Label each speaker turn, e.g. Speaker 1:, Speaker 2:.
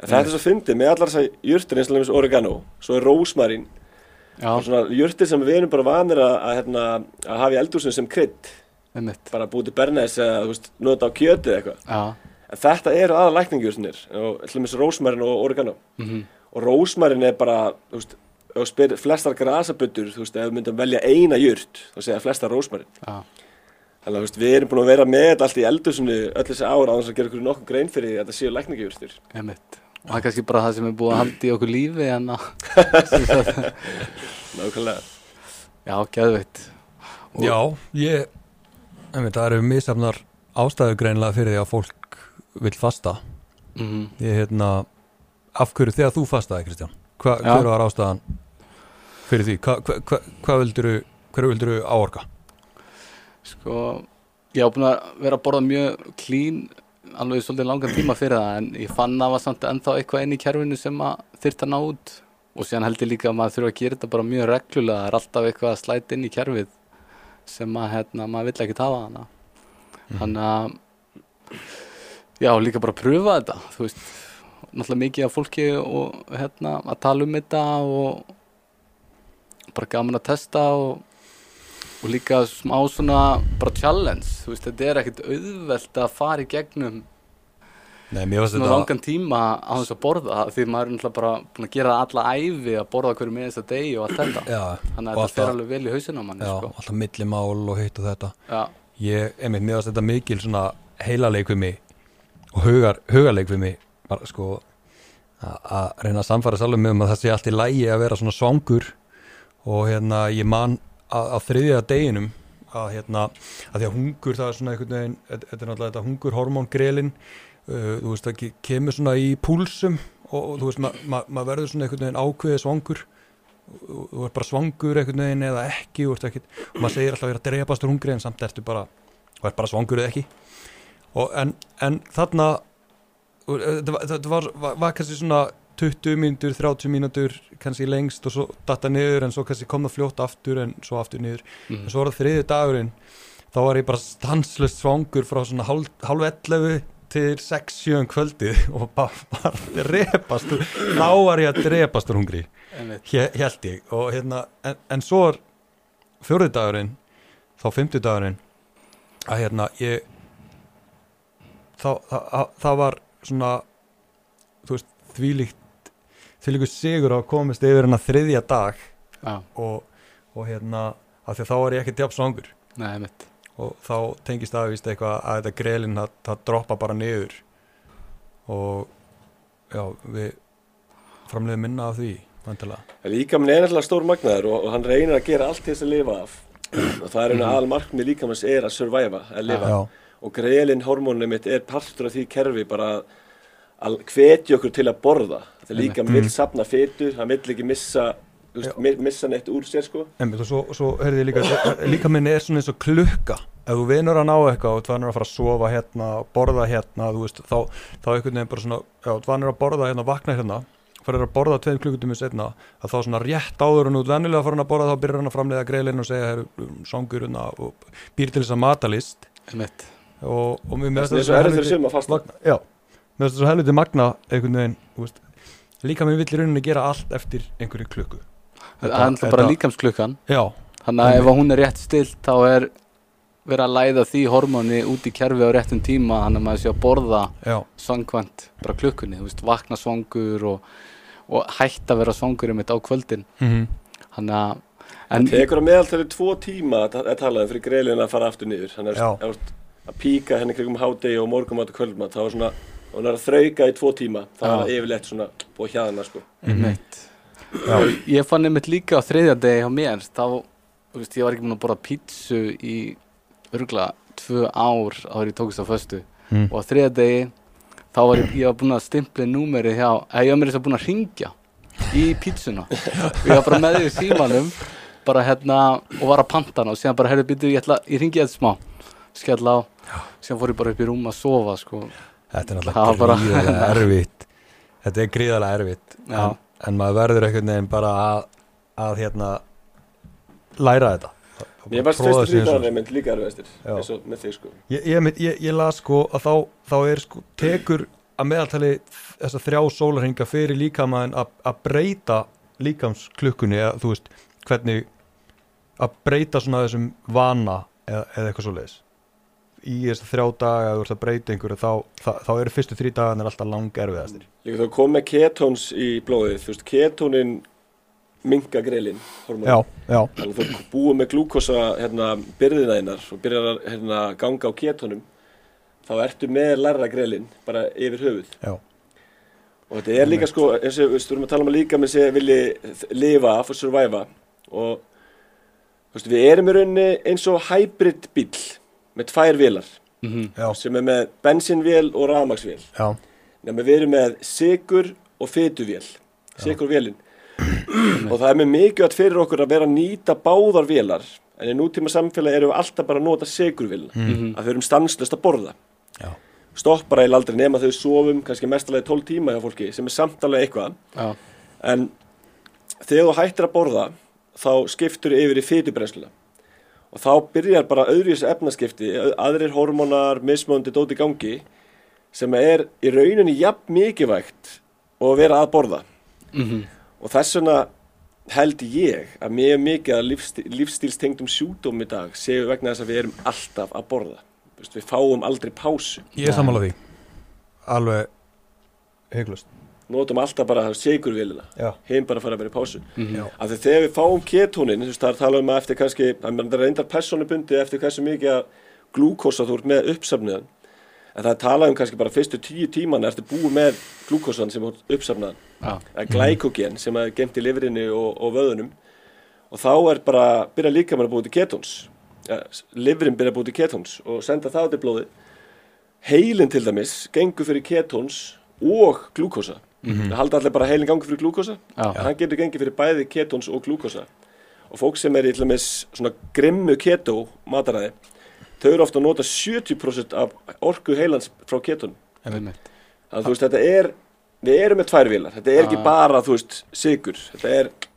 Speaker 1: En það er þess að fyndi með allar þessar jurtir eins og lemjus oregano, svo er rósmarín og
Speaker 2: já,
Speaker 1: svona jurtir sem við erum bara vanir að, að, hérna, að hafa í eldúsinu sem krydd
Speaker 2: einmitt
Speaker 1: bara búið til bernes eða þú veist, nota á kjötið eitthvað
Speaker 2: Já,
Speaker 1: en þetta eru aða lækningjurtinir og til dæmis rósmarin og oregano
Speaker 2: mhm,
Speaker 1: og rósmarin er bara þú veist, ef þú spyr flestar grasabuttur þú veist, ef við myndum velja eina jurt þá segja flestar rósmarin
Speaker 2: já,
Speaker 1: þannig að þú veist, við erum búin að vera með þetta allt í eldusinu öll þessi ára á þess að gera okkur nokkuð grein fyrir því að þetta séu lækningjurtir
Speaker 2: einmitt Og það er kannski bara það sem er búið að halda í okkur lífi en að
Speaker 1: nákvæmlega
Speaker 2: Já, geðveitt Og-
Speaker 3: Já, ég einmitt, það eru misafnar ástæðu greinlega fyrir því að fólk vill fasta
Speaker 2: mhm
Speaker 3: ég hérna, af hverju þegar þú fastaði Kristján, hva,
Speaker 2: Já.
Speaker 3: hver var ástæðan fyrir því, hvað hva, hva, hva vilduru hverju vilduru áorka
Speaker 2: Sko, ég á búin að vera að borða mjög clean alveg svolítið langan tíma fyrir það en ég fann að það var samt ennþá eitthvað inn í kerfinu sem að þyrta ná út og síðan held ég líka að maður þurfa að gera þetta bara mjög reglulega, það er alltaf eitthvað að slæta inn í kerfið sem að hérna, maður vill ekki tafa hana þannig að já, líka bara pröfa þetta þú veist, náttúrulega mikið af fólki og hérna, að tala um þetta og bara gaman að testa og og líka smá svona bara challenge, þú veist, þetta er ekkit auðvelt að fara í gegnum
Speaker 3: Nei, mér varst
Speaker 2: svona
Speaker 3: þetta
Speaker 2: langan tíma á þess að borða því maður er náttúrulega bara búin að gera það alla æfi að borða hverju með þess að degi og allt þetta
Speaker 3: já,
Speaker 2: þannig
Speaker 3: og
Speaker 2: að þetta fer
Speaker 3: alltaf-
Speaker 2: alveg vel í hausinn á manni
Speaker 3: já,
Speaker 2: sko.
Speaker 3: alltaf millimál og hitt og þetta
Speaker 2: já,
Speaker 3: ég, einmitt, mér varst þetta mikil svona heilaleik við mig og hugar, hugarleik við mig bara sko a- að reyna að samfæra sálum með um að það sé allt í lægi að vera svona svangur og hérna ég man að, að þriðja deginum að hérna að því að hungur það er svona einhvern veginn þetta þetta er náttúrulega þetta hungur hormóngrelin uh, þú veist það ke- kemur svona í púlsum og, og þú veist ma- ma- maður verður svona einhvern veginn ákveðið svangur þú þú ert bara svangur einhvern veginn eða ekki, þú ert ekki og maður segir alltaf að vera að drepast úr hungri en samt ertu bara og ert bara svangur eða ekki og en, en þarna og, eh, þetta var, þetta var, var, var kannski svona 20 mínútur, 30 mínútur kannski lengst og svo datta niður en svo kannski kom það fljótt aftur en svo aftur niður
Speaker 2: Mhm.
Speaker 3: en svo var það þriði dagurinn þá var ég bara stanslust svangur frá svona hálf, hálf 11 til 6-7 um kvöldið og bara, bara drepast úr- þá var ég að drepast úr hungri
Speaker 2: einmitt
Speaker 3: Hé- held ég og hérna, en, en svo er fjóriðdagurinn þá fimmtudagurinn að hérna ég þá, það, það- það var svona þú veist, þvílíkt þvílíkur sigur að komist yfir hérna þriðja dag
Speaker 2: já,
Speaker 3: og, og hérna af því að þá var ég ekki djáps svangur
Speaker 2: nei, einmitt
Speaker 3: og þá tengist það víst eitthvað að þetta grelin það, það droppa bara niður og já, við framleiðum minna af því, vantilega
Speaker 1: Líkaminn er náttúrulega stór magnaður og, og hann reynir að gera allt til þess að lifa af og það er einu aðal markmið líkamans er að surviva, að lifa
Speaker 3: Já.
Speaker 1: og greilin hormónum mitt er partur af því kerfi bara að hvetja okkur til að borða það er líka vil sapna fetu, hann vil ekki missa þú veist, mi- missa neitt úr sér sko
Speaker 3: Einmitt, og svo, svo heyrði ég líka líka minn er svona eins og klukka ef þú vinur að ná eitthvað og þú vanur að fara að sofa hérna borða hérna, þú veist þá, þá einhvern veginn bara svona, já, þú vanur að borða hérna, vakna hérna, farir að borða tveim klukkutími setna, að þá svona rétt áður en út vennilega farin að borða, þá byrjar hann að framleiða greilin og segja, herru, songur hérna og býr til þess að matalist
Speaker 2: einmitt,
Speaker 3: og, og mér
Speaker 1: það er svo erður fyrir sum að fasta
Speaker 3: magna, já, mér finnst það svo helviti magna einhvern veginn, þú veist líka minn vill í rauninni gera allt eftir einhverju klukku
Speaker 2: það er náttúrulega bara líkamsklukkan
Speaker 3: já,
Speaker 2: þannig að ef að hún er rétt stilt þá er verið að læða því hormóni út í kerfi á réttum tíma þannig að maður sé að borða
Speaker 3: já
Speaker 2: svangvænt bara klukkunni, þú veist, vakna svangur og, og hætt að vera svangur einmitt á kvöldin
Speaker 3: Mhm.
Speaker 2: þannig að
Speaker 1: það
Speaker 2: en,
Speaker 1: tekur að meðaltali tvo tíma að, að tala um fyrir greilin að fara aftur niður hann er
Speaker 3: Já.
Speaker 1: að, að píka henni kringum hádegi og morgumat og kvöldmat þá er svona, hún er að þrauka í tvo tíma þá er
Speaker 2: Já.
Speaker 1: það yfirleitt svona búið hjaðana sko
Speaker 2: einmitt
Speaker 3: Já.
Speaker 2: ég fann einmitt líka á þriðja degi hjá mér þá, þú veist, ég var ekki múin að borða pítsu í örgla tvö ár áður ég tókist á föstu
Speaker 3: Mm.
Speaker 2: og á þriðja degi þá var ég, ég var búin að stimpli númerið hjá, eða ég var mér þess að búin að ringja í pítsuna og ég var bara með því í símanum bara hérna og var að panta hana og síðan bara herri býtu, ég, ætla- ég ringi þetta smá skell á, síðan fór ég bara upp í rúm að sofa sko,
Speaker 3: Þetta er
Speaker 2: Það var
Speaker 3: náttúrulega
Speaker 2: bara-
Speaker 3: gríðarlega erfitt Þetta er gríðarlega erfitt
Speaker 2: Já.
Speaker 3: en, en maður verður einhvern veginn bara að, að hérna læra þetta Og
Speaker 1: Mér
Speaker 3: bara
Speaker 1: varst
Speaker 3: prófa
Speaker 1: fyrstu
Speaker 3: sig eins og-
Speaker 1: þrítaðan mynd líka erfiðastir
Speaker 3: Já.
Speaker 1: eins og með þig sko
Speaker 3: Ég, ég, mynd- ég, ég las sko að þá, þá er sko tekur að meðaltali þess að þrjá sólarhinga fyrir líkamaðin að að breyta líkamsklukkunni eða þú veist hvernig að breyta svona þessum vana eða, eða eitthvað svo leiðis í þess að þrjá daga eða þú ert að breyta einhverju þá, þá, þá eru fyrstu þrjí dagarnir alltaf lang erfiðastir
Speaker 1: Líka þú kom með ketóns í blóðið, þú veist, ketónin minga grelin, hormónin.
Speaker 3: já, já,
Speaker 1: Þannig að þú búið með glúkosa hérna, byrðina einar og byrjar að hérna, ganga á ketónum, þá ertu með larra grelin bara yfir höfuð.
Speaker 3: já,
Speaker 1: Og þetta er líka sko, eins og við erum að tala um að líka með sem vilji lifa af og surviva og þú veist, við erum í rauninni eins og hybrid bíl með tvær vélar
Speaker 3: já,
Speaker 1: sem er með bensinvél og rafmagsvél.
Speaker 3: já,
Speaker 1: Nefnum við erum með sigur og fytuvél, sigurvélin og það er með mikilvægt fyrir okkur að vera að nýta báðar vélar en í nútíma samfélagi erum við alltaf bara að nota sigurvélina að við erum stanslust að borða
Speaker 3: já,
Speaker 1: stoppar eiginlega aldrei nema þau sofum kannski mestalega 12 tíma hjá fólki sem er samtalega eitthvað
Speaker 2: já,
Speaker 1: en þegar þú hættir að borða þá skiptur yfir í fytubrennsluna og þá byrjar bara öðruvísu efnaskipti, ö- aðrir hormónar, mismöndi, dóti gangi sem er í rauninni jafn mikilvægt og að vera að borða og þess vegna held ég að mjög mikið að lífstíl, lífstílstengdum sjúdóm í dag séu vegna þess að við erum alltaf að borða Þú veist, við fáum aldrei pásu
Speaker 3: ég er sammála því alveg heiklust
Speaker 1: notum alltaf bara sigurvélina
Speaker 3: Já.
Speaker 1: hinn bara fara að vera í pásu
Speaker 3: Já.
Speaker 1: af því þegar við fáum ketónin þú veist, það er talað um að eftir kannski að mann reyndar personubundi eftir hversu mikið að glúkosa þú ert með uppsafniðan en það er talað um kannski bara fyrstu tíu tíman eftir búið með glúkosan sem er uppsafnaðan
Speaker 2: já,
Speaker 1: eða glækogen sem er gemt í lifurinni og, og vöðunum og þá er bara, byrja líka maður að búið til ketóns ja, lifurin byrja að búið til ketóns og senda það til blóði heilin til dæmis gengur fyrir ketóns og glúkosa það halda allir bara að heilin gangur fyrir glúkosa
Speaker 2: Já.
Speaker 1: hann getur gengið fyrir bæði ketóns og glúkosa og fólk sem er í til dæmis svona grimmu ketó mataræði þau eru ofta að nota 70% af orku heilans frá ketónum
Speaker 2: einmitt
Speaker 1: Þannig að þú veist, þetta er, við erum með tvær vilar, þetta er ekki bara, þú veist, sigur, þetta er